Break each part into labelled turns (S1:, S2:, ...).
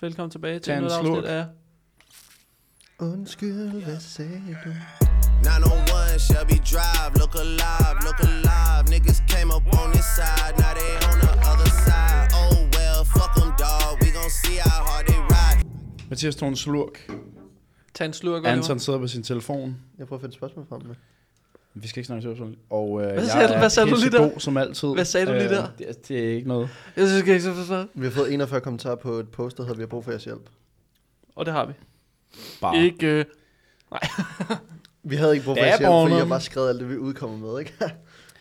S1: Velkommen tilbage til
S2: Tag en
S1: endnu et
S2: slurk.
S1: afsnit af...
S2: Undskyld, hvad sagde du?
S3: 901 Shelby Drive, look alive, look alive. Niggas came up on this side, now they on the other side. Oh well, fuck them, dawg. We gon' see how hard they ride.
S2: Mathias tog en slurk.
S1: Tag en slurk, Oliver.
S2: Anton sidder på sin telefon.
S4: Jeg prøver at finde spørgsmål frem med.
S2: Vi skal ikke snakke søvn. Og øh, jeg
S1: sagde du-
S2: er
S1: hvad sagde du lige
S2: pissegod som altid.
S1: Hvad sagde du lige
S2: Øh,
S1: der?
S2: Det, det, er ikke noget.
S1: Jeg synes, jeg ikke så forstå.
S4: Vi har fået 41 kommentarer på et post, der hedder, vi har brug for jeres hjælp.
S1: Og det har vi.
S2: Bare.
S1: Ah. Ikke... Øh,
S4: Vi havde ikke brug for
S2: Ja,
S4: jeres hjælp, fordi
S2: Bornholm.
S4: jeg har bare skrevet alt det, vi udkommer med, ikke?
S1: det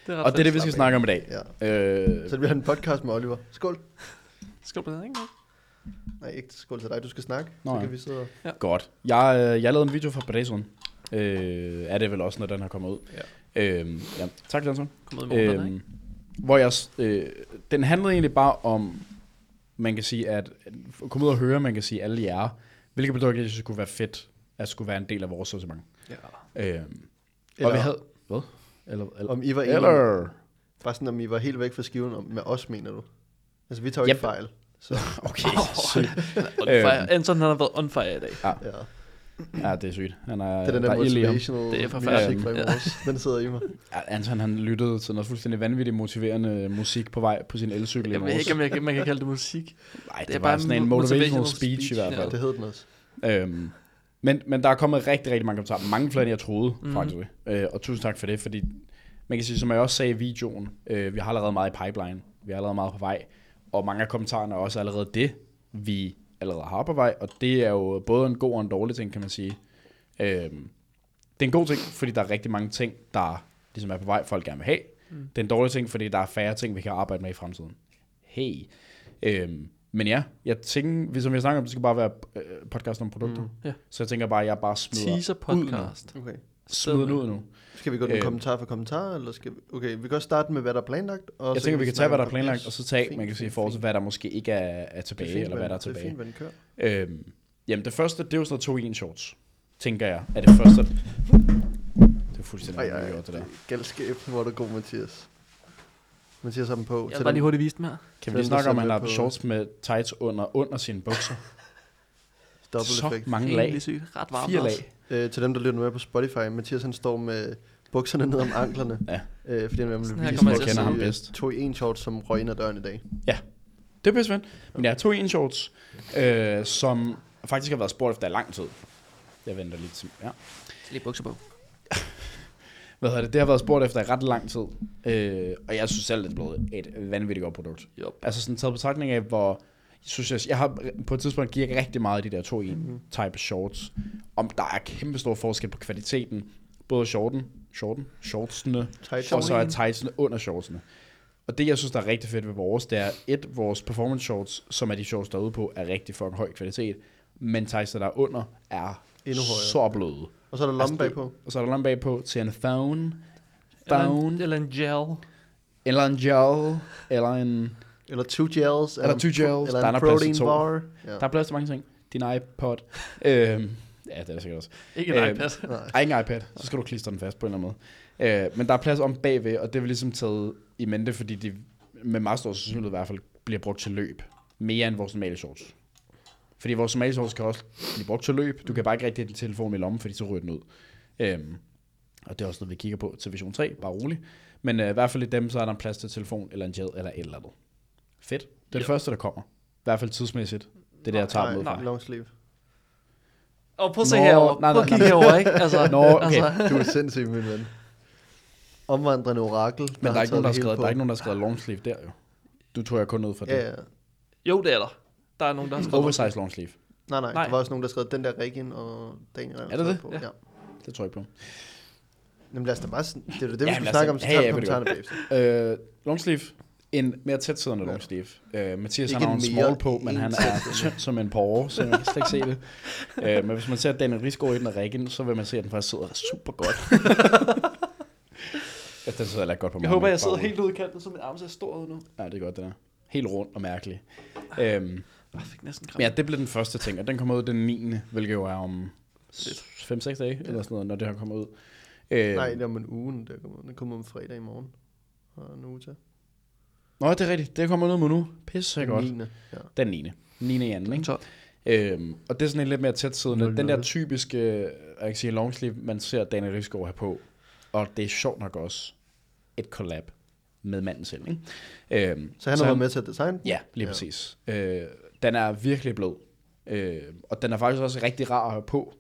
S1: er ret
S2: Og det er det, vi
S1: fedt.
S2: skal snakke om i dag.
S4: ja.
S2: Øh,
S4: Så det bliver en podcast med Oliver. Skål.
S1: Skal du bedre, ikke?
S4: Nej, ikke skål til dig. Du skal snakke.
S2: Nå
S4: så
S2: ja.
S4: kan vi sidde og...
S2: Godt. Jeg, øh, jeg lavede en video for Bredesund. Øh, er det vel også, når den her kommer ud. Ja. Øh, ja. Tak, Johnson.
S1: Kom ud i morgen, øh,
S2: Øh, hvor jeg, s- øh, den handlede egentlig bare om, man kan sige, at kom ud og høre, man kan sige, alle jer, hvilke produkter, jeg synes kunne være fedt, at skulle være en del af vores sortiment.
S1: Ja.
S2: Øh, og
S4: Eller-
S2: vi havde... Hvad? Eller, eller,
S4: Om I var enige, Eller...
S2: eller
S4: bare sådan, om I var helt væk fra skiven om, med os, mener du? Altså, vi tager jo
S2: Yep.
S4: ikke fejl. Så,
S2: okay, sygt. Øhm,
S1: On fire. Anton han har været on fire i dag.
S4: ja.
S2: Ja, det er sygt. Han er,
S4: Det er den
S2: der
S4: der
S2: er ild i ham.
S4: motivational
S1: Det er
S4: musik
S1: forfærdeligt.
S4: fra i
S1: Ja.
S4: morges. Den sidder i mig.
S2: Ja, Anton, han lyttede til noget fuldstændig vanvittigt motiverende musik på vej på sin elcykel i
S1: Jeg ved
S2: morges.
S1: ikke, om jeg, kan- man kan kalde det musik. Det
S2: Nej, det,
S1: er
S2: det var
S1: bare
S2: sådan en
S1: mo-
S2: motivational
S1: motivational
S2: speech, speech i
S1: speech,
S2: hvert
S1: ja.
S4: Ja,
S2: fald.
S4: det hed den også.
S2: Øhm, men, men der er kommet rigtig, rigtig mange kommentarer. Mange flere, end jeg troede,
S1: Mhm.
S2: mm. faktisk. Øh, og tusind tak for det, fordi man kan sige, som jeg også sagde i videoen, øh, vi har allerede meget i pipeline. Vi er allerede meget på vej. Og mange af kommentarerne er også allerede det, vi allerede har på vej. Og det er jo både en god og en dårlig ting, kan man sige. Øhm, det er en god ting, fordi der er rigtig mange ting, der ligesom er på vej, folk gerne vil have. Mm. Det er en dårlig ting, fordi der er færre ting, vi kan arbejde med i fremtiden. Hey. Øhm, men ja, jeg tænker, vi- som vi snakker om, det skal bare være øh, podcast om produkter. Mm.
S1: Ja.
S2: Så jeg tænker bare, at jeg bare smider,
S1: Teaser podcast.
S4: Okay.
S2: smider den ud nu.
S4: Skal vi gå den
S2: Øh.
S4: kommentar for kommentar, eller skal vi... Okay, vi kan også starte med, hvad der er planlagt. Og
S2: Jeg
S4: så
S2: tænker,
S4: kan
S2: vi kan tage,
S4: snakke
S2: hvad der er
S4: om det.
S2: planlagt, og så tage,
S4: Fint,
S2: man kan sige, i
S4: fint,
S2: forhold til,
S4: fint.
S2: hvad der måske ikke er, er
S4: Det er
S2: tilbage,
S4: fint,
S2: eller hvad
S4: hvad-
S2: der er
S4: Det er fint,
S2: tilbage.
S4: hvad den kører.
S2: Øhm, jamen, det første, det er jo sådan noget to i en shorts, tænker jeg. Er det første... Det er
S4: Ej,
S2: fuldstændig
S4: ej,
S2: gjort,
S4: det
S2: det der.
S4: er Galskab, hvor er du god, Mathias. Mathias har dem på.
S1: Jeg
S4: Tag
S1: vil bare
S4: dem-
S1: lige hurtigt vise den her.
S2: Kan
S4: Hvem
S2: vi lige
S4: der
S2: snakke om, at
S4: sidder
S2: han har
S4: med på-
S2: shorts med tights under, under sine bukser?
S4: Double
S2: Så
S4: effect.
S2: mange
S1: Helt
S2: lag.
S1: sygt. Ret varmt
S2: Fire
S1: også.
S2: lag.
S4: Øh, til dem, der lytter med på Spotify, Mathias han står med bukserne ned om anklerne.
S2: Ja.
S4: Øh, fordi han er
S1: Sådan
S4: nemlig
S1: her
S4: vist,
S1: kommer jeg til
S4: hvor
S1: at
S4: de,
S1: sidde.
S2: Kender ham
S4: øh,
S2: bedst.
S4: tog i en short, som røg ind ad døren i dag.
S2: Det er pisse fedt. Men jeg har to en shorts, øh, som faktisk har været spurgt efter i lang tid. Jeg venter lidt til, ja.
S1: Lige bukser på.
S2: Hvad hedder det? Det har været spurgt efter i ret lang tid. Øh, og jeg synes selv, det er blevet et vanvittigt godt produkt.
S1: Jo.
S2: Altså sådan taget betragtning af, hvor jeg synes, jeg, jeg har på et tidspunkt gik rigtig meget i de der to i
S4: Mhm.
S2: mm-hmm. type shorts. Om der er kæmpe stor forskel på kvaliteten. Både shorten, shorten, shortsene,
S4: Tight
S2: og så er
S1: Shorten.
S2: tightsene under shortsene. Og det, jeg synes, der er rigtig fedt ved vores, det er, et, vores performance shorts, som er de shorts, der er ude på, er rigtig fucking høj kvalitet, men tightsene, der er under, er
S4: Endnu højere.
S2: så bløde.
S4: Og så er der
S2: Altså,
S4: lomme
S2: det-
S4: bagpå.
S2: Og så er der lomme bagpå til en phone,
S1: Eller en,
S2: phone,
S1: eller en gel.
S2: eller en gel, eller en...
S4: Eller two gels.
S2: Eller two gels.
S4: Eller
S2: Der er
S4: en
S2: nok plads til
S4: protein
S2: to.
S4: bar. Ja.
S2: Der er plads til mange ting. Din iPod. øhm, ja, det er der sikkert også.
S1: Ikke en
S2: Øh,
S1: iPad.
S4: Nej.
S2: Ej, ikke en iPad. Så skal du klistre den fast på en eller anden måde. Øh, men der er plads om bagved, og det er vi ligesom taget i mente, fordi de med meget stor sandsynlighed i hvert fald bliver brugt til løb. Mere end vores normale shorts. Fordi vores normale shorts kan også blive brugt til løb. Du kan bare ikke rigtig have din telefon i lommen, fordi så ryger den ud. Øhm, og det er også noget, vi kigger på til version 3, bare rolig. Men øh, i hvert fald i dem, så er der en plads til telefon, eller en gel, eller et eller andet. Fedt. Det er det
S1: Ja.
S2: første, der kommer. I hvert fald tidsmæssigt. Det er det, jeg tager med fra.
S4: Nej, long sleeve.
S1: Og prøv at se
S2: Nå,
S1: herovre.
S2: nej,
S1: Prøv at
S2: nej,
S1: kigge
S2: nej.
S1: herovre, ikke? Altså,
S2: Nå, okay.
S1: altså,
S4: Du er sindssyg, min ven. Omvandrende orakel.
S2: Men der er,
S4: har
S2: ikke nogen, der, har
S4: taget det hele
S2: skrevet, der er ikke
S4: på.
S2: nogen, der har skrevet longsleeve der jo. Du tror jeg kun ud fra det.
S4: Ja,
S2: Yeah.
S4: ja.
S1: Jo, det er der. Der er nogen, der har skrevet
S2: Oversize longsleeve.
S4: Nej, nej,
S1: Nej.
S4: Der var også nogen, der skrev den der Regin og Daniel.
S2: Er det det?
S4: På.
S1: Ja.
S4: Ja. ja.
S2: Det tror jeg ikke på.
S4: Jamen lad os da bare... sn- Det er jo det, vi
S2: Ja,
S4: skal
S2: lad os
S4: snakke
S2: da-
S4: om, så
S2: Ja,
S4: tager
S2: ja,
S4: vi
S2: ved du
S4: kommentarerne bagefter.
S2: Øh, longsleeve. En mere tætsiddende
S4: Ja.
S2: longsleeve. Øh, Mathias
S4: Ikke
S2: han har jo en
S4: en
S2: small
S4: mere,
S2: på, men
S4: en
S2: han er tynd som en porre, så man kan slet ikke se det. Øh, men hvis man ser Daniel Rigsgaard i den og Rikken, så vil man se, at den faktisk sidder super godt. ja, den sidder heller ikke godt på mig.
S1: Jeg håber,
S2: men
S1: jeg sidder
S2: bare rolig.
S1: helt ude i kanten, så min arm ser stor ud nu.
S2: Nej, det er godt, den er. Helt rund og mærkelig. Øhm,
S1: Jeg fik næsten kram.
S2: men ja, det blev den første ting, og den kommer ud den 9., hvilket jo er om
S1: Lidt.
S2: 5-6 dage, eller sådan noget, når det her kommer ud. Øh,
S4: Nej, det er om en uge, der kommer. Den kommer om fredag i morgen. Og en uge til.
S2: Nå, det er rigtigt. Det kommer noget med nu. Pisse
S4: Den
S2: godt.
S4: 9. Ja.
S2: Den 9. 9. i anden, ikke?
S1: Så,
S2: Øhm, og det er sådan en lidt mere tæt siddende. Den der
S4: 00.
S2: typiske, øh, jeg kan sige longsleeve, man ser Daniel Rigsgaard have på. Og det er sjovt nok også et collab med manden selv. Ikke? Øhm,
S4: Så han har været med til at designe? den?
S2: Ja, lige ja. præcis. Øh, den er virkelig blød. Øh, og den er faktisk også rigtig rar at høre på.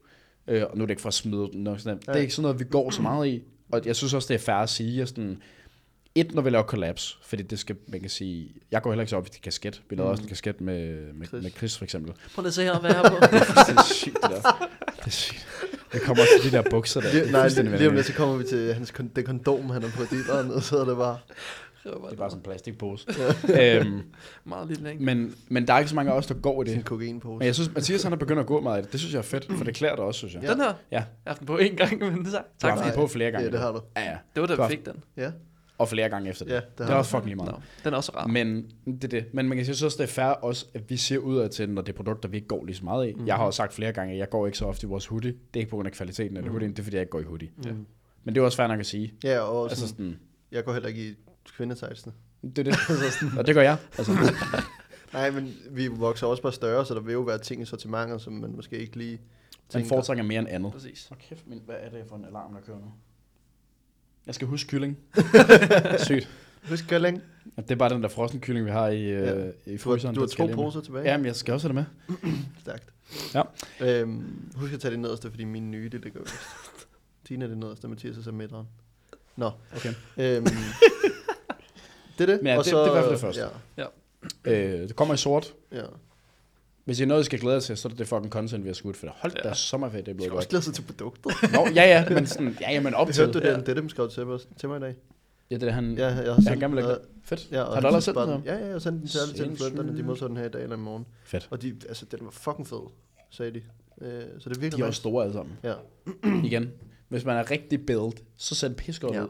S2: Øh, og nu er det ikke for at smide den. Og sådan. Ja. Det er ikke sådan noget, vi går så meget i. Og jeg synes også, det er fair at sige. at Sådan, et, når vi laver kollaps, fordi det skal, man kan sige, jeg går heller ikke så op i det kasket. Vi lavede mm. også en kasket med, med,
S4: Chris.
S2: med Chris for eksempel.
S1: Prøv lige at se her, hvad jeg har på.
S2: Det er sygt, det der. Det er sygt. Det kommer også til de der bukser der.
S4: Lige,
S2: Det er
S4: nej,
S2: fuldstændig
S4: lige, lige om
S2: vanvittigt.
S4: lidt, så kommer vi til hans, kon- det kondom, han har på dealeren, og så er det bare...
S2: det er bare sådan en plastikpose. øhm,
S1: Meget lille, ikke?
S2: men, men der er ikke så mange af os, der går i det.
S4: Sådan en kokainpose.
S2: Men jeg synes, Mathias han er begyndt at gå meget i det. Det synes jeg er fedt, for det klæder dig også, synes jeg.
S1: Den her,
S2: Ja,
S1: jeg har haft den på én gang, men tak.
S2: du
S1: tak
S2: har
S1: for
S2: haft
S1: det.
S2: den på flere gange.
S4: Ja, det har du.
S2: Ja, ja.
S1: Det var da
S2: Du har
S1: vi
S2: haft-
S1: fik den.
S4: Ja,
S2: Og flere gange efter det.
S4: Ja, det har
S2: det er
S4: du.
S2: også fucking lige meget.
S1: Nå, den er også rar.
S2: Men det er det. Men man kan sige, så også, det er fair også, at vi ser ud af til, når det er produkter, vi ikke går lige så meget i. Mm. Jeg har også sagt flere gange, at jeg går ikke så ofte i vores hoodie. Det er ikke på grund af kvaliteten af mm. hoodien, det er fordi, jeg ikke går i hoodie. Mm. Men det er også fair nok at sige.
S4: ja og
S2: Altså
S4: sådan,
S2: sådan,
S4: jeg går heller ikke i kvindetejsene.
S2: det er det. Altså sådan, og det gør jeg. Altså,
S4: Nej, men vi vokser også bare større, så der vil jo være ting i sortimentet, som man måske ikke lige
S2: man
S4: tænker.
S2: foretrækker mere end andet.
S1: Præcis.
S2: Hvor kæft, min, hvad er det for en alarm, der kører nu? Jeg skal huske kylling. Sygt.
S4: Husk kylling.
S2: Det er bare den der frossen kylling, vi har i, ja.
S4: Ja.
S2: i
S4: Du har,
S2: fryseren.
S4: du har
S2: Den skal
S4: to
S2: jeg lige med.
S4: poser tilbage.
S2: Jamen, jeg skal også have det med.
S4: Stærkt.
S2: Ja.
S4: Øhm, husk at tage det nederste, fordi mine nye, det ligger øverst. Dine er det nederste, Mathias er midteren. Nå.
S2: Okay.
S4: Øhm, det er det.
S2: Men ja,
S4: og
S2: det-
S4: så,
S2: det er i hvert fald det første.
S4: Ja,
S2: Øh, det kommer i sort.
S4: ja.
S2: Hvis I er noget, I skal glæde jer til, så er det det fucking content, vi har skudt for. Hold da
S1: Ja.
S2: sommerferie, det er
S4: Jeg skal
S2: blevet
S4: også
S2: godt.
S4: glæde sig til produktet.
S2: Nå, ja, ja, men sådan, ja, ja, men op
S4: Det
S2: til.
S4: hørte du
S1: Ja.
S4: det, det, dem skrev til, os- til mig i dag.
S2: Ja, det er han,
S4: Ja,
S2: ja,
S4: jeg
S2: han gerne vil lægge.
S4: og-
S2: Fedt.
S4: Ja,
S2: Ja,
S4: og
S2: har
S4: han
S2: du allerede sendt
S4: sendte
S2: den?
S4: den? Ja, ja, jeg sendte den til alle til
S2: Sindssygt.
S4: influenterne. De modtog den her i dag eller i morgen.
S2: Fedt.
S4: Og de, altså, den var fucking fed, sagde de. Øh, så det er
S2: De
S4: virkelig
S2: er også store alle sammen.
S4: Ja.
S2: Igen. Hvis man er rigtig build, så send pisker ja.
S4: Ja.
S2: ud.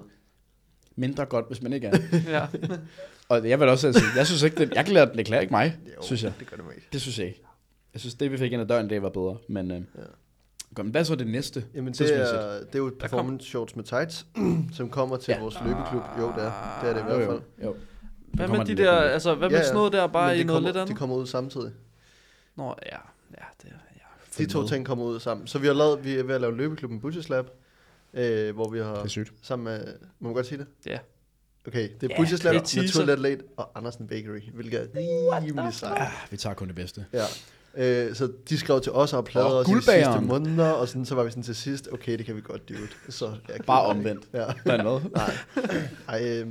S2: Mindre godt, hvis man ikke er.
S1: Ja.
S2: Og jeg vil også sige, jeg synes ikke, det, jeg glæder, det klæder ikke mig,
S4: Jo,
S2: synes jeg.
S4: Det gør det mig ikke.
S2: Det synes jeg ikke. Jeg synes, det vi fik ind ad døren, det var bedre. Men, øh,
S4: Ja.
S2: godt, men hvad så er det næste?
S4: Jamen, det
S2: tidsmæssigt?
S4: er, det er jo performance shorts med tights, som kommer til
S2: Ja.
S4: ja. vores løbeklub. Jo, det er det, er det i hvert
S2: Jo,
S4: fald.
S2: jo, jo.
S1: Hvad
S2: kommer
S1: med
S2: den
S1: de
S2: lidt
S1: der,
S2: om lidt.
S1: altså, hvad med
S4: Ja, ja.
S1: sådan noget der, bare
S4: Men
S1: i
S4: det
S1: noget
S4: kommer,
S1: lidt andet?
S4: De kommer ud samtidig.
S1: Nå, ja. Ja, det er... Ja.
S4: De to ting kommer ud sammen. Så vi, har lavet, vi er ved at lave løbeklubben Bushes Lab, øh, hvor vi
S2: Det er
S4: har
S2: sygt.
S4: sammen med... Må man godt sige det?
S1: Ja.
S4: Okay, det er
S1: Ja,
S4: yeah, Bushes Lab,
S1: det er teaser.
S4: Naturligt Atlet og Andersen Bakery, hvilket er rimelig sejt.
S2: Ah, vi tager kun det bedste.
S4: Ja. Øh, så de skrev til os og har pladet
S2: Og
S4: os i de sidste
S2: guldbageren.
S4: måneder, og sådan, så var vi sådan til sidst, okay, det kan vi godt, dude. Så, jeg
S2: Bare
S4: gider ikke.
S2: omvendt.
S4: Ja.
S2: Blandt hvad?
S4: Nej. Ej, øh,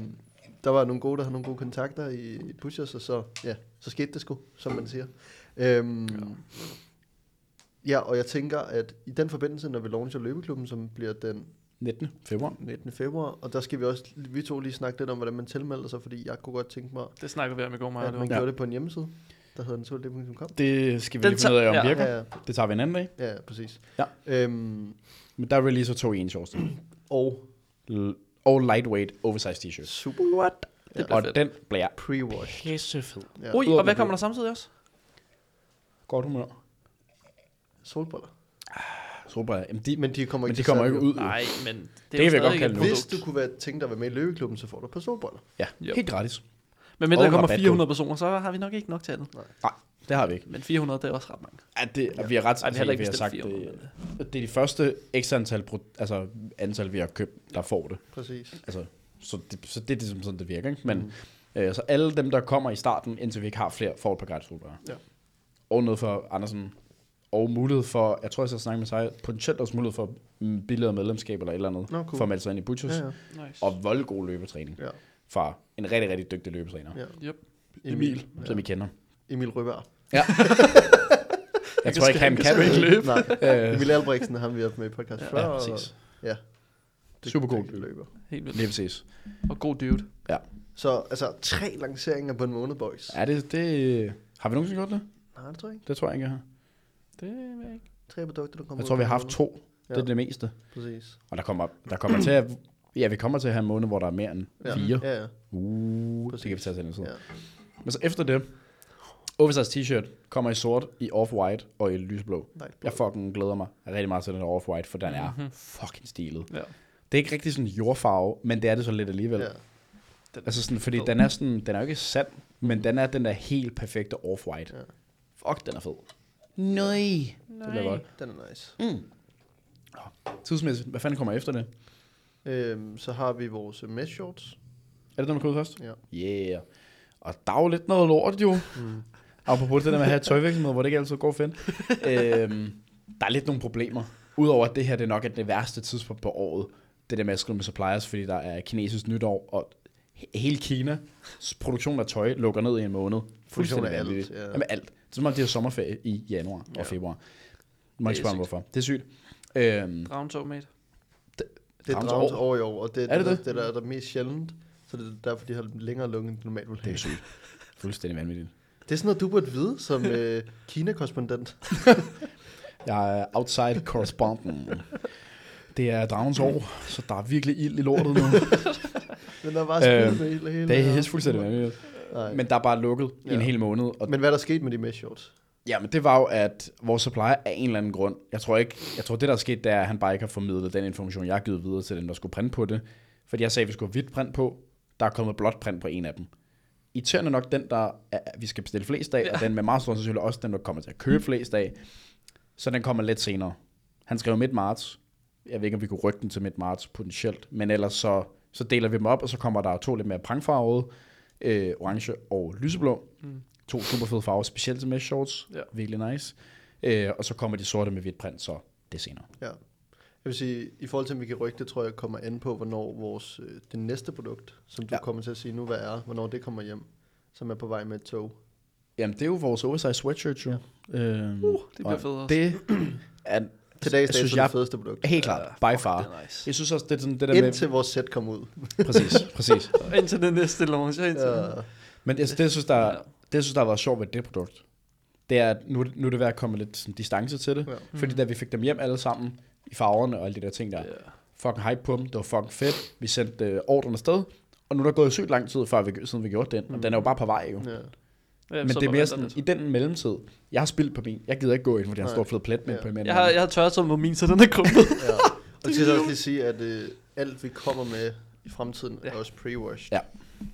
S4: der var nogle gode, der havde nogle gode kontakter i, i Pushers, og så, ja, så skete det sgu, som man siger. Øhm, ja. ja, og jeg tænker, at i den forbindelse, når vi launcher løbeklubben, som bliver den
S2: 19. februar.
S4: 19. februar, og der skal vi også, vi to lige snakke lidt om, hvordan man tilmelder sig, fordi jeg kunne godt tænke mig,
S1: Det snakker vi om i går, Maja.
S4: at
S1: det
S4: man
S1: var-
S2: Ja.
S4: gjorde det på en hjemmeside, der hedder naturligt.com.
S2: Det skal vi
S1: Den
S2: lige finde ud af, om
S1: tager- ja.
S2: virker.
S4: Ja, ja,
S2: Det tager vi en anden dag.
S4: ja, præcis.
S2: Ja.
S4: Øhm,
S2: Men der releaser to en shorts.
S4: og
S2: L- og lightweight oversized t-shirts.
S4: super
S1: Det
S2: Og
S1: bliver fedt.
S2: den bliver
S4: pre-wash.
S2: pissefed.
S4: Ja.
S1: Ui, og hvad kommer der samtidig også?
S2: Godt humør.
S4: Solbriller.
S2: Super. Jamen, de, men,
S4: Men de kommer
S2: men
S4: ikke,
S2: de
S4: til
S2: kommer
S4: salg
S2: ikke ud.
S1: Nej, men det,
S2: kan
S1: er jo
S2: vi godt
S1: stadig
S2: kalde
S1: et
S2: nu.
S1: produkt.
S4: Hvis du kunne være, tænke dig at være med i løbeklubben, så får du på solbriller.
S2: Ja,
S1: Yep.
S2: helt gratis.
S1: Men mindre
S2: Og
S1: der kommer
S2: rabatkode.
S1: 400 personer, så har vi nok ikke nok til andet.
S2: Nej, det har vi ikke.
S1: Men 400, det er også ret mange.
S2: Ja, det, ja. Vi er ret
S1: Ej, vi har heller ikke
S2: vi har
S1: bestilt
S2: sagt,
S1: 400. men,
S2: det,
S1: øh,
S2: det, er de første ekstra antal, pro- altså, antal, vi har købt, der får det.
S4: Præcis.
S2: Altså, så, det, så det er ligesom sådan, det virker. Ikke? Men, mm. øh, så alle dem, der kommer i starten, indtil vi ikke har flere, får et par gratis solbriller.
S4: Ja.
S2: Og noget for Andersen. Og mulighed for, jeg tror, jeg skal snakke med sig, potentielt også mulighed for mm, billigere medlemskab eller et eller andet,
S4: Nå, cool.
S2: for at melde sig ind i Butchers.
S4: Ja, ja.
S1: Nice.
S2: Og voldgod løbetræning
S4: Ja.
S2: fra en rigtig, rigtig dygtig løbetræner,
S4: Ja.
S1: Yep.
S2: Emil, som I kender.
S4: Emil Røberg.
S2: Jeg tror ikke, han kan det.
S1: løbe.
S4: Nej,
S2: Øh,
S4: Emil Albrechtsen har vi haft med i podcast før.
S2: Ja,
S4: og-
S2: præcis.
S4: Ja.
S2: Super god.
S4: dygtig løber.
S1: Helt vildt.
S2: Lige præcis.
S1: Og god dude.
S4: Så altså, tre lanceringer på en måned, boys.
S2: Er det, det, har vi nogensinde gjort det?
S4: Nej, det tror jeg ikke.
S2: Det tror jeg ikke, jeg har.
S1: Det ved jeg ikke.
S4: Tre produkter, der kommer
S2: Jeg
S4: ud
S2: tror,
S4: på
S2: vi har
S4: en
S2: haft to. Det er
S4: Ja.
S2: det meste.
S4: måned. Præcis.
S2: Og der kommer, der kommer til at, ja, vi kommer til at have en måned, hvor der er mere end
S4: Ja.
S2: fire.
S4: Ja, ja.
S2: Uh, det
S4: Præcis.
S2: kan vi tage til den side.
S4: ja.
S2: Men så efter det, oversized t-shirt kommer i sort, i off-white og i lysblå.
S4: Nej,
S2: Jeg fucking glæder mig rigtig meget til den her off-white, for den er
S1: Mhm.
S2: fucking stilet.
S1: Ja.
S2: Det er ikke rigtig sådan jordfarve, men det er det så lidt alligevel.
S4: ja.
S2: Altså sådan, fordi den er sådan, den er jo ikke sand, men den er den der helt perfekte off-white.
S4: Ja.
S2: Fuck, den er fed. Nøj. Det lyder godt.
S4: Den er nice.
S2: Tidsmæssigt, hvad fanden kommer efter det?
S4: Øhm, så har vi vores øh, mesh shorts.
S2: Er det den, der kommer ud først?
S4: Ja.
S2: Yeah. Og der er jo lidt noget lort jo. Mm. Apropos det der med at have tøjvirksomhed, hvor det ikke altid går fedt. øhm, der er lidt nogle problemer. Udover at det her, det er nok er det værste tidspunkt på året. Det der med at skrive med suppliers, fordi der er kinesisk nytår, og he- hele Kinas produktion af tøj lukker ned i en måned. Fuldstændig
S4: af alt,
S2: vanvittigt.
S4: ja.
S2: Jamen alt. Det er som om, de har sommerferie i januar ja. og februar. Man
S1: Det er
S2: ikke spørge mig,
S1: sygt.
S2: hvorfor. Det er sygt. Øhm,
S1: Dragentog, mate.
S4: Det er
S2: Dragens
S4: dragens
S2: år.
S4: år i år, og det
S2: Er det
S4: det,
S2: det?
S4: det der er der mest sjældent. Så det er derfor, de har længere lunge end de normalt vil
S2: det
S4: have.
S2: er sygt. Fuldstændig vanvittigt.
S4: Det er sådan noget, du burde vide som øh, Kina-korrespondent.
S2: Jeg er outside correspondent. Det er dragens år, så der er virkelig ild i lortet nu.
S4: Den er bare spillet
S2: Øhm,
S4: med hele, hele
S2: Det er helt fuldstændig vanvittigt.
S4: Nej.
S2: Men der er bare lukket ja. i en
S4: Ja.
S2: hel måned. Og
S4: Men hvad er der sket med de mesh shorts?
S2: Jamen, det var jo, at vores supplier af en eller anden grund, jeg tror ikke, jeg tror det der er sket, det er, at han bare ikke har formidlet den information, jeg har givet videre til den, der skulle printe på det. Fordi jeg sagde, at vi skulle have hvidt print på, der er kommet blåt print på en af dem. Irriterende nok den, der er, vi skal bestille flest af, ja. og den med meget stor sandsynlighed også den, der kommer til at købe flest af. Så den kommer lidt senere. Han skrev midt marts. Jeg ved ikke, om vi kunne rykke den til midt marts potentielt, men ellers så, så deler vi dem op, og så kommer der to lidt mere prangfarvede, øh, orange og lyseblå. Mm. To super fede farver, specielt til mesh shorts.
S1: Ja.
S2: Virkelig nice. Øh, og så kommer de sorte med hvidt print, så det er senere.
S4: Ja. Jeg vil sige, i forhold til, om vi kan rykke det, tror jeg, kommer an på, hvornår vores, øh, det næste produkt, som du
S2: Ja.
S4: ja. kommer til at sige nu, hvad er, hvornår det kommer hjem, som er på vej med et tog.
S2: Jamen, det er jo vores oversized sweatshirt, jo. Ja. Øh,
S1: Uh, det bliver fedt også.
S2: Det er,
S4: Til dags dato
S2: synes
S4: er
S2: jeg-
S4: det fedeste produkt.
S2: helt klart,
S1: Ja,
S2: uh, by
S1: fuck,
S2: far.
S1: det er nice.
S2: Jeg synes også, det er sådan, det der
S4: Indtil vores sæt kom ud.
S2: med... Præcis, præcis.
S1: Indtil den næste launch. Ja. Indtil
S4: Ja.
S2: Men altså, det, jeg synes, der,
S1: Ja.
S2: det, jeg synes, der har været sjovt ved det produkt, det er, at nu, nu er det ved at komme lidt sådan, distance til det.
S4: Ja.
S2: Ja.
S1: Mm.
S2: Fordi da vi fik dem hjem alle sammen, i farverne og alle de der ting der,
S1: Ja.
S2: fucking hype på dem, det var fucking fedt. Vi sendte øh, ordren afsted, og nu er der gået sygt lang tid, før vi, siden vi gjorde
S1: Mm.
S2: den. Og den er jo bare på vej, jo.
S4: Ja.
S1: Ja,
S2: Men
S1: så
S2: det er
S1: bare
S2: mere
S1: venter
S2: sådan,
S1: lidt.
S2: i den mellemtid, jeg har spildt på min, jeg gider ikke gå ind, fordi jeg har en
S4: Nej.
S2: stor flad plet med
S4: Ja.
S2: på min.
S1: Jeg har, jeg har tørret på min, så den er krumpet.
S4: ja. Og til at også lige sige, at øh, alt vi kommer med i fremtiden ja.
S1: Ja.
S4: er også pre-washed.
S2: Ja.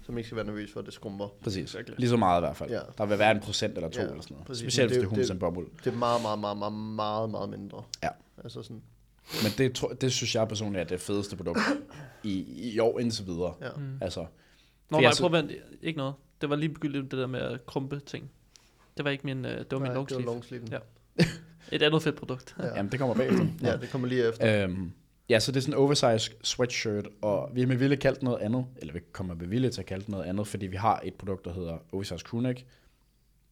S4: Så man ikke skal være nervøs for, at det skrumper.
S2: Præcis,
S1: Virkelig.
S2: lige så meget i hvert fald.
S4: Ja.
S2: Der vil være en procent eller to
S4: Ja,
S2: eller sådan noget.
S4: præcis.
S2: Specielt hvis
S4: Men
S2: det er
S4: det er jo-
S2: hummus and bubble.
S4: Det er meget, meget, meget, meget, meget, meget mindre.
S2: Ja.
S4: Altså sådan,
S2: Men det, tror- det synes jeg personligt er det fedeste produkt i, i år indtil videre.
S4: ja. Mm.
S2: Altså,
S1: Nå,
S2: For
S1: nej,
S2: jeg så-
S1: prøv at vente. Ikke noget. Det var lige begyndt det der med at krumpe ting. Det var ikke min, øh, det var min
S4: Nej, det var
S1: longsleeve.
S4: longsleeven.
S1: Ja. Et andet fedt produkt.
S4: Ja.
S2: jamen det kommer bagefter.
S4: ja, det kommer lige efter.
S2: Øhm, ja, så det er sådan en oversized sweatshirt, og vi har med vilje kaldt det noget andet, eller vi kommer med vilje til at kalde det noget andet, fordi vi har et produkt, der hedder oversized crewneck.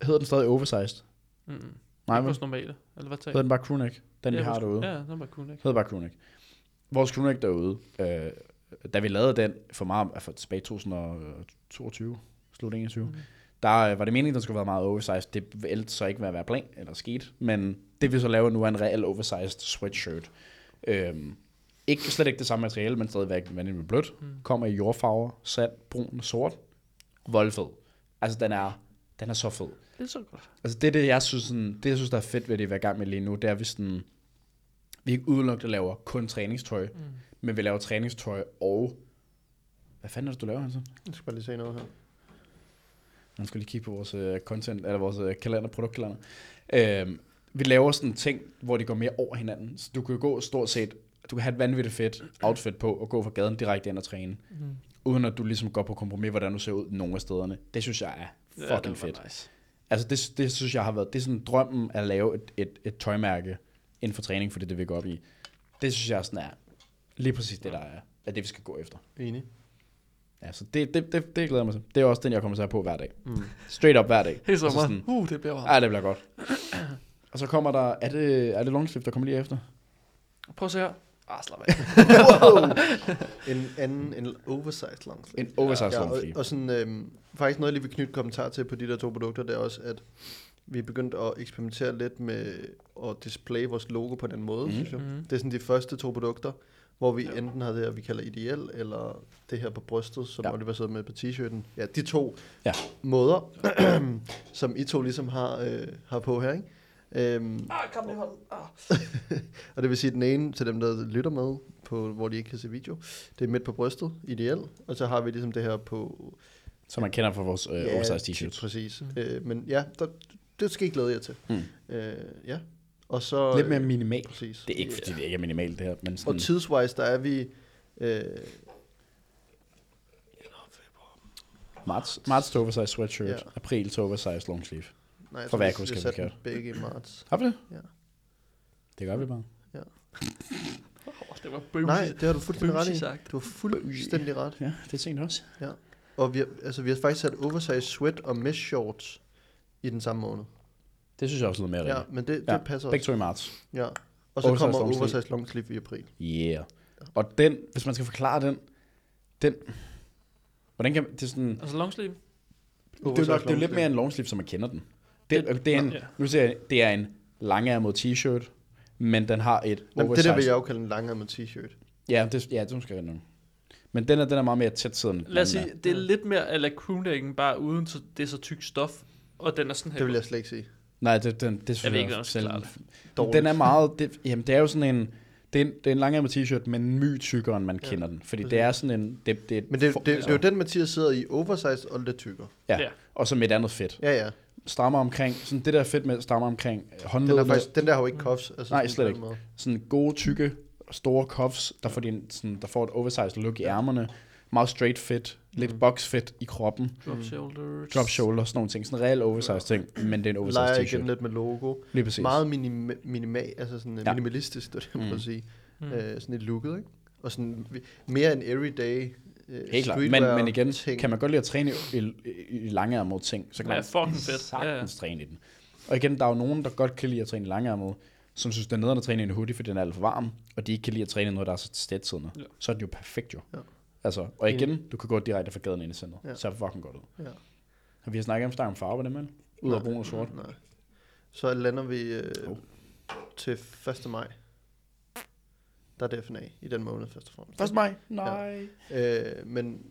S2: Hedder den stadig oversized?
S1: Mm.
S2: Nej,
S1: Ikke
S2: men
S1: vores normale. Eller hvad
S2: hedder
S1: tager
S2: den bare crewneck? Den, vi
S1: Ja,
S2: har
S1: vores-
S2: derude.
S1: Ja, den var cool, ikke?
S2: Hedder bare crewneck. Vores crewneck derude, øh, da vi lavede den for meget, for tilbage i 2022, slut 21, mm. der øh, var det meningen, der skulle være meget oversized. Det vælte så ikke, hvad at være plan eller sket, men det vi så laver nu er en reel oversized sweatshirt. Øhm, ikke, slet ikke det samme materiale, men stadigvæk vandet med blødt. Mm. Kommer i jordfarver, sand, brun, sort. Voldfed. Altså, den er, den er så fed.
S1: Det er så godt.
S2: Altså det, er det, jeg synes, sådan, det, jeg synes, der er fedt ved det, vi er i gang med lige nu, det er, at vi, sådan, vi ikke udelukkende laver kun træningstøj, mm. men vi laver træningstøj og... Hvad fanden er det, du laver, Hansen?
S4: Jeg skal bare lige se noget her.
S2: Man skal lige kigge på vores øh, content, eller vores øh, kalender, produktkalender. Øhm, vi laver sådan ting, hvor de går mere over hinanden. Så du kan jo gå stort set, du kan have et vanvittigt fedt outfit på, og gå fra gaden direkte ind og træne. Mm. Uden at du ligesom går på kompromis, hvordan du ser ud nogle af stederne. Det synes jeg er
S1: Ja,
S2: fucking
S1: det var
S2: fedt.
S1: Nice.
S2: Altså det, det synes jeg har været, det er sådan drømmen at lave et, et, et tøjmærke inden for træning, for det er det, vi går op i. Det synes jeg sådan er lige præcis det, der er, er det, vi skal gå efter.
S4: Enig.
S2: Ja, så det, det, det, det glæder jeg mig til. Det er også den, jeg kommer til at have på hver dag. Mm. Straight up hver dag. Altså
S1: Helt sommer.
S2: sådan-
S1: Uh, det bliver varmt.
S2: Ja, det bliver godt. Og så kommer der, er det, er det longsleeve, der kommer lige efter?
S1: Prøv at se her. Ah, slap af.
S4: En anden, en oversized longsleeve.
S2: En oversized
S4: Ja,
S2: ja,
S4: og,
S2: longsleeve.
S4: og sådan, øhm, faktisk noget, jeg lige vil knytte kommentar til på de der to produkter, det er også, at vi er begyndt at eksperimentere lidt med at displaye vores logo på den måde, mm. synes jeg.
S1: Mhm.
S4: Det er sådan de første to produkter, hvor vi ja. enten har det her, vi kalder ideal, eller det her på brystet, som
S2: Ja.
S4: ja. Oliver sidder med på t-shirten. Ja, de to
S2: Ja.
S4: måder, som I to ligesom har, øh, har på her, ikke? Øhm,
S1: Ah, kom lige hånden. Ah.
S4: og det vil sige, at den ene til dem, der lytter med, på, hvor de ikke kan se video, det er midt på brystet, ideal. Og så har vi ligesom det her på
S2: Som man kender fra vores øh, oversized t-shirts.
S4: Præcis. Mm. Øh, men ja, der, det skal I glæde jer til.
S2: Mm.
S4: Øh, ja. Og så...
S2: Lidt mere
S4: øh,
S2: minimalt.
S4: Præcis.
S2: Det er ikke, fordi det ikke er minimalt det her, men sådan,
S4: Og tidswise, der er vi... Øh,
S2: marts, marts til oversized sweatshirt,
S4: Ja.
S2: april til oversized long sleeve.
S4: nej, jeg
S2: For
S4: tror,
S2: hvad jeg
S4: vi-
S2: kunne
S4: vi
S2: huske,
S4: satte
S2: den
S4: dem begge i marts.
S2: Har vi det?
S4: Ja.
S2: Det gør vi bare.
S1: Oh, det var bøvsigt.
S4: Nej, det har du fuldstændig ret i.
S1: sagt.
S4: Du har fuldstændig ret.
S2: Ja, det er sent også.
S4: Og vi har, altså, vi har faktisk sat oversized sweat og mesh shorts i den samme måned.
S2: Det synes jeg også lyder mere
S4: Ja,
S2: rigtigt.
S4: men det, det
S2: Ja,
S4: passer
S2: Begge
S4: også.
S2: to i marts.
S4: Ja. Og så
S2: Oversized
S4: kommer
S2: long sleeve.
S4: oversized long sleeve i april.
S2: Yeah. Og den, hvis man skal forklare den, den, hvordan kan det er sådan, det
S1: Altså long sleeve.
S2: er jo nok, det er jo
S4: long
S2: lidt
S4: sleeve.
S2: mere en long sleeve, som man kender den. Det, det er en,
S1: Ja.
S2: nu siger jeg, det er en langærmet t-shirt, men den har et
S4: Jamen, det
S2: oversized.
S4: der vil jeg jo kalde en langærmet t-shirt.
S2: Ja, det, ja, det er måske rigtigt nok. Men den er, den er meget mere tæt siden.
S1: Lad os sige, det er lidt mere ala crewnecken, bare uden så, det er så tyk stof. Og den er sådan her.
S4: Det vil jeg slet ikke sige.
S2: Nej, det, den, det synes
S1: Jeg ved ikke, hvordan jeg
S2: også
S1: skal
S2: selv-
S1: klare det.
S4: Dårligt.
S2: Den er meget, det, jamen det er jo sådan en, det er en, det er en langærmet t-shirt, men my tykkere, end man kender den. Fordi det er sådan en, det, det er et
S4: Men det,
S2: for- altså,
S4: det, det, er jo den, Mathias sidder i oversized og lidt tykkere.
S2: ja,
S1: Ja.
S2: og så med et andet fedt.
S4: Ja, ja.
S2: Strammer omkring, sådan det der fedt med strammer omkring øh,
S4: Den, er
S2: håndledene,
S4: faktisk, den der har jo ikke cuffs. Altså
S2: Nej,
S4: sådan
S2: slet
S4: på den
S2: ikke.
S4: måde.
S2: sådan gode, tykke, store cuffs, der får, din, sådan, der får et oversized look i ærmerne, meget straight fit,
S1: Mm.
S2: lidt box fit i kroppen,
S1: Drop shoulders.
S2: drop shoulder, sådan nogle ting, sådan en reel oversized ting, men det er en
S4: Leger
S2: oversized
S4: igen
S2: t-shirt.
S4: lidt med logo.
S2: Lige præcis.
S4: Meget minima, minima, altså sådan øh,
S2: Ja.
S4: minimalistisk, det var det, jeg prøvede at sige.
S1: Mm.
S4: Øh, sådan et looket, ikke? Og sådan vi- mere en everyday øh,
S2: Helt klart, men, men igen,
S4: ting.
S2: kan man godt lide at træne i, i, i langærmede ting, så kan
S1: Ja,
S2: man
S1: fucking fedt.
S2: sagtens træne i den. Og igen, der er jo nogen, der godt kan lide at træne i langærmede, som synes, det er nederen at træne i en hoodie, fordi den er alt for varm, og de ikke kan lide at træne i noget, der er så stedsiddende.
S1: Ja.
S2: Ja. Så er den jo perfekt jo.
S4: Ja.
S2: Ja. Altså, og igen, du kan gå direkte fra gaden ind i centret.
S4: Ja.
S2: Ja. Så er det fucking godt ud.
S4: Ja.
S2: Og vi har snakket om, snakket om farver, dem vel? Ud af
S4: Nej.
S2: brun og sort. Oh.
S4: Nej. Så lander vi øh,
S2: Hov.
S4: til 1. maj. Der er det FNA i den måned, først og fremmest.
S2: 1. maj? Nej.
S4: Øh, men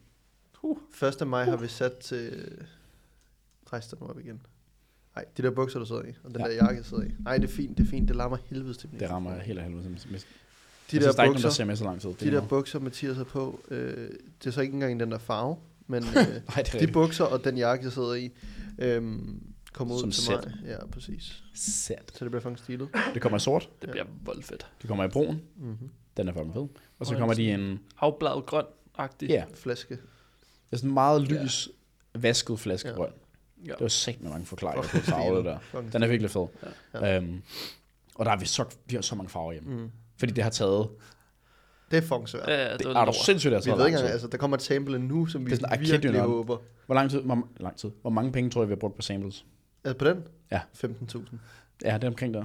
S1: Uh.
S4: 1. maj har vi sat til... Rejs dig nu op igen. Nej, de der bukser, du sidder i, og den
S2: Ja.
S4: der jakke, jeg sidder i. Nej, det er fint, det er fint. Det larmer helvedes til min
S2: Det rammer
S4: mikrofon.
S2: helt af helvede. som- som-
S4: De
S2: jeg synes, der er
S4: der
S2: ikke nogen, der
S4: bukser,
S2: ser med så lang tid. Det
S4: de
S2: er
S4: der
S2: noget.
S4: bukser, Mathias har på, øh, det er så ikke engang den der farve, men øh,
S2: Nej, det er
S4: de
S2: rigtigt.
S4: bukser og den jakke, jeg sidder i, øh, kommer ud
S2: Som
S4: til
S2: sæt.
S4: mig. Ja, præcis.
S2: Sæt.
S4: Så det bliver fucking stilet.
S2: Det kommer i sort,
S1: Det bliver voldfedt.
S2: det kommer i brun,
S4: Mm-hmm.
S2: den er fucking fed. Og så
S1: Og
S2: kommer
S1: en-
S2: de i en
S1: Afbladet grøn-agtig.
S2: Ja,
S4: Flaske.
S2: det er sådan meget lys, vasket flaske
S4: Ja.
S2: grøn.
S1: Ja.
S2: Det var sæt med mange forklaringer på
S4: Fucking
S2: farver, det
S4: stilet.
S2: der.
S4: Fucking
S2: Den er virkelig fed.
S4: Ja.
S2: Øhm, og der har vi så, vi har så mange farver hjemme.
S4: Mm.
S2: Fordi det har taget,
S4: Det er fucking svært.
S1: Ja, ja, det,
S2: det,
S1: var
S2: er du
S1: lort.
S2: sindssygt, det har
S4: Vi
S2: taget
S4: ved
S2: lang
S4: ikke engang,
S2: tid.
S4: altså der kommer et sample nu, som vi
S2: Det er sådan, I kid you
S4: virkelig
S2: not.
S4: håber.
S2: Hvor lang tid, hvor, lang tid, hvor mange penge tror jeg, vi har brugt på samples?
S4: Altså på den?
S2: Ja.
S4: 15.000.
S2: Ja, det er omkring der.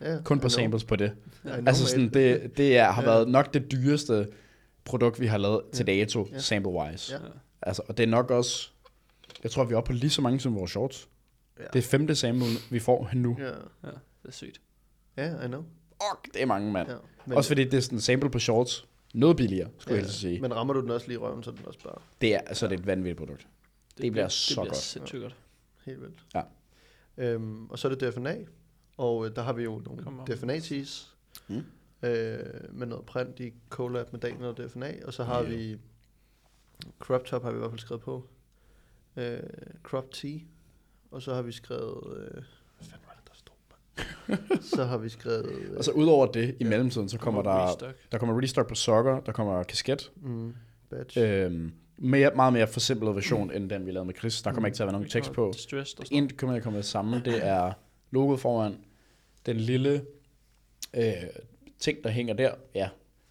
S4: Ja, ja.
S2: Kun på
S4: I know.
S2: samples på det.
S4: I know,
S2: Altså
S4: mate.
S2: sådan, det, det er, har
S4: Ja.
S2: været nok det dyreste produkt, vi har lavet til
S4: Ja.
S2: dato,
S4: Ja.
S2: sample-wise.
S4: Ja.
S2: Altså, og det er nok også, jeg tror, vi er oppe på lige så mange som vores shorts.
S4: Ja.
S2: Det er femte sample, vi får nu.
S4: Ja,
S1: Ja, det er sygt.
S4: ja I know.
S2: Fuck, det er mange, mand.
S4: Ja.
S2: Men, også fordi det er sådan en sample på shorts. Noget billigere, skulle jeg helst sige. Men,
S4: Men rammer du den også lige i røven, så er den også bare
S2: det er, altså, det er et vanvittigt produkt. bliver så
S1: det bliver
S2: godt.
S1: sindssygt godt.
S4: helt vildt.
S2: Ja.
S4: Øhm, og så er det DFNA, og øh, der har vi jo nogle
S1: Kom op.
S4: dfna tees
S2: Mm.
S4: øh, med noget print i collab med Daniel og DFNA, og så har
S2: Yeah.
S4: vi crop top har vi i hvert fald skrevet på, øh, crop tee, og så har vi skrevet, øh, hvad fanden var det, der stod, mand? så har vi skrevet, øh,
S2: Og så Altså, udover det, i mellemtiden, så kommer der,
S1: Restock.
S2: der kommer restock på sokker, der kommer kasket.
S4: mm, badge.
S2: Øhm, mere, meget mere forsimplet version, end den vi lavede med Chris. Der kommer ikke til at være nogen tekst på.
S1: Distressed og sådan
S2: En kommer jeg kommer med det samme, det er logoet foran, den lille øh, ting, der hænger der, ja,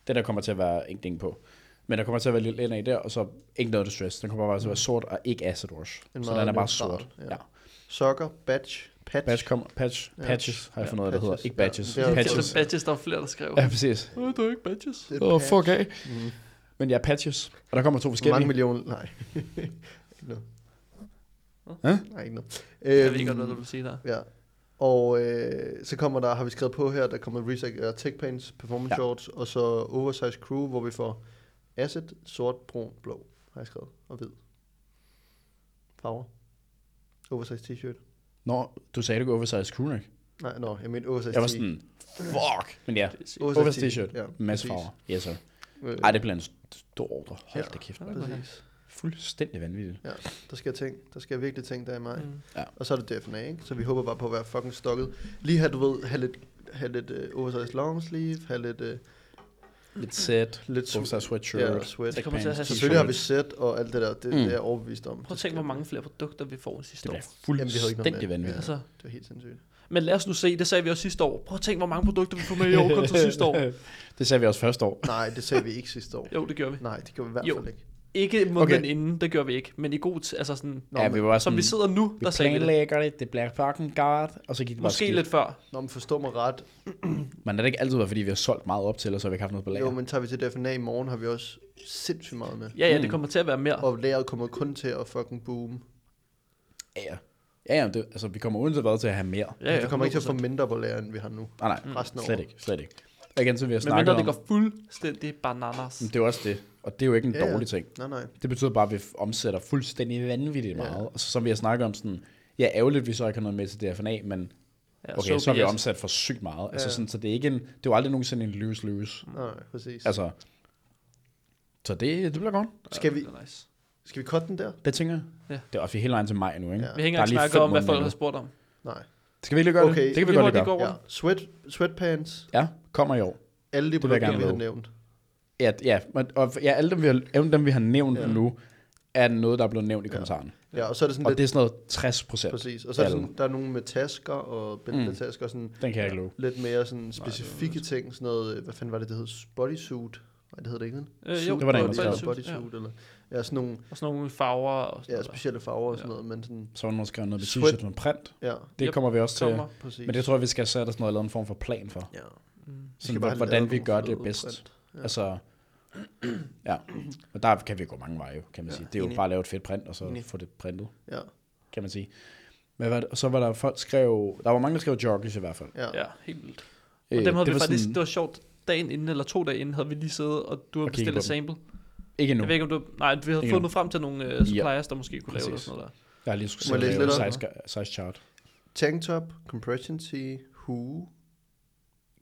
S2: det der kommer til at være ingenting på. Men der kommer til at være lidt ind i der, og så ikke noget distress. Den kommer bare til at være sort og ikke acid wash.
S4: En
S2: Så
S4: meget
S2: den er bare
S4: neutral,
S2: sort.
S4: ja.
S2: Ja.
S4: Sokker, badge, patch.
S2: Patch, kommer, patch,
S4: Ja.
S2: patches har jeg
S4: Ja,
S2: fundet ud af, det hedder.
S4: patches.
S2: Ikke badges.
S4: Ja, det er
S2: Ja,
S1: noget. Badges.
S2: patches.
S1: badges, der var flere, der skrev.
S2: Ja, præcis.
S1: Åh, det er ikke badges.
S4: Det er
S2: Åh, oh,
S4: patch.
S2: fuck af.
S4: Mm.
S2: Men ja, patches. Og der kommer to
S4: Hvor mange
S2: forskellige.
S4: millioner? Nej. ikke noget.
S2: Hæ?
S4: Nej, ikke noget. Øhm,
S1: Jeg ved ikke, godt, hvad du vil sige der.
S4: Ja. Og øh, så kommer der, har vi skrevet på her, der kommer Resac uh, Tech Paints, Performance
S2: Ja.
S4: Shorts, og så Oversize Crew, hvor vi får Acid, sort, brun, blå, har jeg skrevet, og hvid. Farver. Oversize t-shirt.
S2: Nå, du sagde, du går oversized crewneck.
S4: Nej, nå, jeg mente oversize
S2: Jeg var
S4: tee.
S2: sådan, fuck. Men ja,
S1: Det er sygt.
S4: Oversize
S2: oversized
S4: tee,
S2: t-shirt.
S4: ja,
S2: Masse
S4: præcis.
S2: farver. Yes, sir.
S4: Øh,
S2: Ej, det bliver en stor ordre. Hold
S4: Ja.
S2: da kæft, mand.
S4: Præcis.
S2: fuldstændig vanvittigt.
S4: Ja, der sker ting. Der sker virkelig ting der i maj. Mm.
S1: Mm.
S4: Og så er det DFNA, ikke? Så vi håber bare på at være fucking stokket. Lige her, du ved, have lidt, have lidt uh, oversized long sleeve, have lidt, uh,
S2: Lidt sæt,
S4: lidt su-
S2: oversized sweatshirt.
S4: ja, sweat.
S1: Det kommer til at have-
S4: Selvfølgelig har vi set og alt det der, det, mm.
S2: Mm.
S4: det er jeg overbevist om.
S1: Prøv at tænke, hvor mange flere produkter vi får end sidste
S2: Det
S1: år.
S2: bliver
S4: Jamen, vi havde ikke noget
S2: fuldstændig
S4: med.
S2: vanvittigt.
S1: Altså,
S4: Det var helt sindssygt.
S1: men lad os nu se, det sagde vi også sidste år. Prøv at tænke, hvor mange produkter vi får med i år kontra sidste år.
S2: det sagde vi også første år.
S4: Nej, det sagde vi ikke sidste år.
S1: Jo, det gjorde vi.
S4: Nej, det gjorde vi i hvert
S1: Jo.
S4: fald ikke.
S1: Ikke måneden
S2: Okay.
S1: inden, det gjorde vi ikke. Men i god tid, altså sådan,
S4: Nå,
S2: ja,
S4: men-
S2: vi var
S1: som
S2: sådan,
S1: vi sidder nu,
S2: vi
S1: der sagde vi det.
S2: planlægger det, det bliver fucking godt, og så gik det bare
S1: Måske
S2: skidt.
S1: lidt før.
S4: Nå, men forstå mig ret.
S2: Men det har ikke altid været, fordi vi har solgt meget op til, og så har vi ikke haft noget på lager.
S4: Jo, men tager vi til DFNA i morgen, har vi også sindssygt meget med.
S1: Ja, ja,
S2: Mm.
S1: det kommer til at være mere.
S4: Og lageret kommer kun til at fucking boom.
S2: Ja, ja. Ja, ja, det, altså vi kommer uanset hvad til at have mere. Ah,
S1: Ja, ja,
S4: vi kommer ikke til at få
S1: 100%.
S4: mindre på lager, end vi har nu.
S2: Nej, nej,
S4: Resten af
S2: slet
S4: året.
S2: ikke, slet ikke. Og igen, så vi har
S1: Men
S2: snakket
S1: mindre det
S2: om, Mm.
S1: går fuldstændig bananas.
S2: Men det er jo også det, og det er jo ikke en
S4: Ja, ja.
S2: dårlig ting.
S4: Nej, nej.
S2: Det betyder bare, at vi omsætter fuldstændig vanvittigt
S4: Ja.
S2: meget. Og så som vi har snakket om sådan, ja, ærgerligt, at vi så ikke har noget med til DFNA, men
S1: Ja,
S2: okay, så har vi
S1: yes.
S2: omsat for sygt meget. Altså
S4: Ja.
S2: sådan, så det er ikke en, det er jo aldrig nogensinde en
S1: Mm.
S2: lose-lose.
S4: Nej, nej, præcis.
S2: Altså, så det, det bliver godt.
S1: Ja,
S4: Skal vi-
S1: det er Nice.
S4: Skal vi cutte den der?
S2: Det tænker jeg.
S1: Ja.
S2: Det er også vi er hele vejen til maj nu, ikke?
S4: Ja.
S1: Vi hænger
S2: Der
S1: og
S2: er lige
S1: snakker
S2: fem
S1: om, hvad folk
S2: måneder
S1: har spurgt om.
S4: Nej.
S2: Skal vi lige gøre
S4: Okay.
S2: det? Det kan vi
S1: Lige
S2: godt lige
S1: hurtigt
S2: gøre.
S1: går
S4: Ja.
S1: rundt.
S4: Sweat, sweatpants,
S2: Ja, kommer i år.
S4: alle de
S2: vil jeg
S4: produkter,
S2: gerne
S4: vi har
S2: vide.
S4: nævnt.
S2: Ja, ja, men- og ja, alle dem, vi har, alle dem, vi har nævnt
S4: Ja.
S2: ja. nu, er noget, der er blevet nævnt i
S4: Ja.
S2: kommentaren. Ja.
S4: Ja, og så er det sådan
S2: Og
S4: lidt...
S2: det er sådan noget 60 procent.
S4: Præcis. Og så er det
S2: Alle.
S4: sådan, der er nogen med tasker og bæltetasker, mm. sådan
S2: Den kan jeg ikke love.
S4: lidt mere sådan specifikke ting, sådan noget, øh, hvad fanden var det, det hed? Bodysuit? Nej, det hed det ikke, vel?
S1: Øh,
S4: Suit,
S1: jo,
S2: det var der en, der
S4: bodysuit,
S1: skrev.
S4: bodysuit, eller ja, sådan nogle
S1: Og sådan nogle farver og sådan
S4: ja,
S1: noget. der.
S4: specielle farver og sådan
S1: Ja.
S4: noget, men sådan,
S2: Så var der nogen, der skrev noget med
S4: Sweat.
S2: t-shirt med print.
S4: ja,
S2: Det
S1: Yep,
S2: kommer vi også til.
S1: Kommer.
S4: præcis.
S2: Men det tror jeg, vi skal sætte os noget eller en form for plan for.
S4: ja.
S1: Mm.
S4: Vi skal
S2: Sådan,
S4: bare
S2: hvor-
S4: have
S2: hvordan
S4: lavet
S2: vi
S4: nogle
S2: gør
S4: fede
S2: det bedst.
S4: print. Ja.
S2: Altså, ja. Og der kan vi gå mange veje, jo, kan man
S4: Ja,
S2: sige. Det er jo
S4: enig.
S2: bare at lave et fedt print, og så
S4: Enig.
S2: få det printet,
S4: Ja,
S2: kan man sige. Men hvad, og så var der folk skrev, der var mange, der skrev joggers i hvert fald.
S4: ja.
S1: Ja, helt vildt. Og
S2: Øh,
S1: dem havde vi
S2: var
S1: faktisk,
S2: sådan-
S1: det var sjovt, dagen inden, eller to dage inden, havde vi lige siddet, og du havde
S2: Og kigget
S1: bestilt
S2: på
S1: et sample.
S2: ikke endnu.
S1: Jeg ved ikke, om du... Nej, vi havde
S2: Ikke
S1: fundet
S2: nu.
S1: frem til nogle øh, suppliers, der måske kunne lave det og
S2: Præcis.
S1: sådan noget der.
S2: Jeg har lige skulle
S4: Må jeg
S2: sidde
S4: læse
S2: og lave
S4: lidt
S2: size, size chart.
S4: Tanktop, compression tee, hue,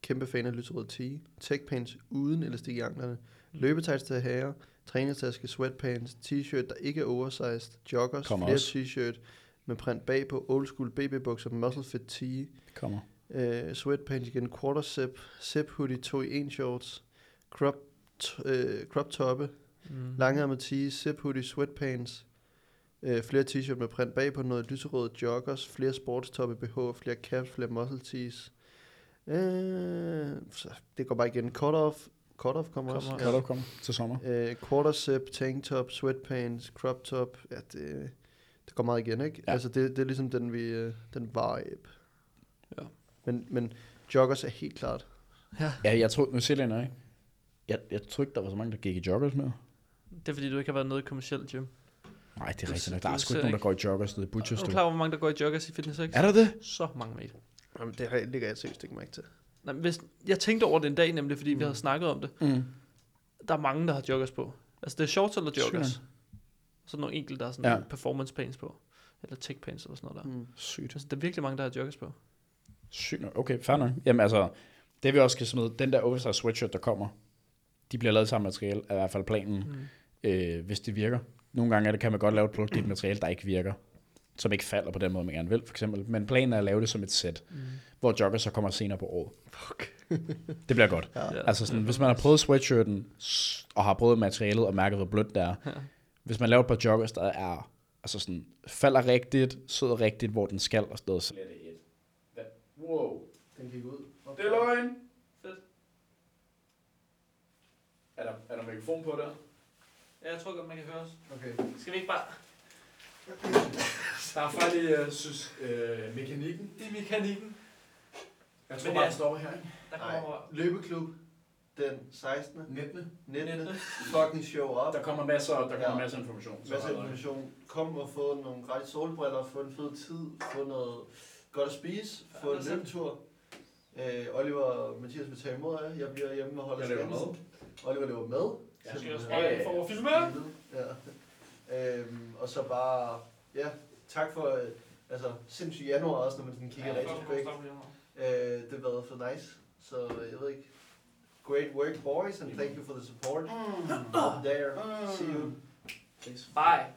S4: kæmpe fan af lyserød tee, tech pants uden elastik i anklerne, løbetights til herrer, træningstaske, sweatpants, t-shirt, der ikke er oversized, joggers,
S2: Kommer
S4: flere
S2: også.
S4: t-shirt med print bagpå, old school BB-bukser, muscle fit tee,
S2: Kommer.
S4: øh, sweatpants igen, quarter zip, zip hoodie, 2 i 1 shorts, crop, t- øh, crop toppe,
S1: Mm.
S4: Langærmet tee, zip hoodie, sweatpants, øh, flere t-shirt med print bagpå, noget lyserøde joggers, flere sportstoppe, BH, flere caps, flere muscle tees. Øh, så det går bare igen. Cut off, cut off
S1: Kommer,
S4: kommer, også.
S2: Hvad der kommer til sommer?
S4: Ja. Øh, quarter zip, tank top, sweatpants, crop top. Ja, det, det går meget igen, ikke? Ja.
S2: Ja.
S4: Altså, det, det er ligesom den, vi, øh, den vibe.
S1: Ja.
S4: Men, men joggers er helt klart.
S2: Ja, jeg tror, nu ser jeg ikke? Jeg, jeg tror ikke, der var så mange, der gik i joggers med.
S1: Mm. Det er fordi, du ikke har været nede i kommersielt gym.
S2: Nej, det er
S1: Det
S2: rigtigt
S1: ser-
S2: nok. Der er
S1: det
S2: sgu
S1: ser
S2: ikke nogen, der
S1: ikke-
S2: går i joggers nede
S1: Er
S2: i Butchers.
S1: du
S2: du.
S1: klar, over, hvor mange der går i joggers i Fitness X?
S2: Er der det?
S1: Så mange, mate.
S4: Jamen, det har jeg ligger jeg seriøst ikke mærke til.
S1: Nej, men hvis, jeg tænkte over det en dag nemlig, fordi mm. vi havde snakket om det.
S2: Mm.
S1: Der er mange, der har joggers på. Altså, det er shorts eller joggers.
S2: Sygt
S1: Så nogle enkelte, der har sådan
S2: Ja.
S1: ja. performance pants på. Eller tech pants eller sådan noget der.
S4: Mm.
S2: Sygt.
S1: Altså, der er virkelig mange, der har joggers på.
S2: Sygt nok. Okay, fair nok. Jamen altså, det vi også skal smide, den der oversized sweatshirt, der kommer, de bliver lavet samme materiale, er i hvert fald planen,
S1: Mm.
S2: øh, hvis det virker. Nogle gange er det, kan man godt lave et produkt i et materiale, der ikke virker, som ikke falder på den måde, man gerne vil, for eksempel. Men planen er at lave det som et sæt,
S1: Mm.
S2: hvor joggers så kommer senere på året.
S4: Fuck.
S2: Det bliver godt.
S4: Ja.
S2: Altså sådan, hvis man har prøvet sweatshirten, s- og har prøvet materialet, og mærket, hvor blødt det er, hvis man laver et par joggers, der er, altså sådan, falder rigtigt, sidder rigtigt, hvor den skal, og sådan noget. så- Wow.
S4: Den gik ud.
S2: Det er løgn. Fedt. Er der, er der mikrofon på der?
S1: Ja, jeg tror godt, man kan høre os.
S4: Okay.
S1: Skal vi ikke bare...
S2: Der er faktisk, jeg synes, øh, mekanikken.
S1: Det er mekanikken.
S2: Jeg
S1: tror Men bare, ja. den
S2: stopper her, ikke?
S1: Der
S4: Nej. Løbeklub den 16. 19. 19. Fucking show op.
S2: kommer masser, der
S4: kommer Ja.
S2: masser af information.
S4: Masser af information. Kom og få nogle gratis solbriller, få en fed tid, få noget godt at spise, få
S1: Ja,
S4: en
S1: det er
S4: løbetur. Øh, Oliver og Mathias vil tage imod af. Jeg bliver hjemme og holder skansen. Oliver løber med.
S2: Ja,
S4: Så
S2: jeg
S4: det
S2: skal
S4: er-
S2: også
S1: for at filme.
S4: Ja. Øhm, og så bare, ja, tak for, øh, altså, sindssygt januar også, når man sådan kigger ja, retrospekt. Øh, det har været for nice. uh, Så jeg ved ikke. Great work, boys, and thank you for the support. Up there. See you.
S2: Bye.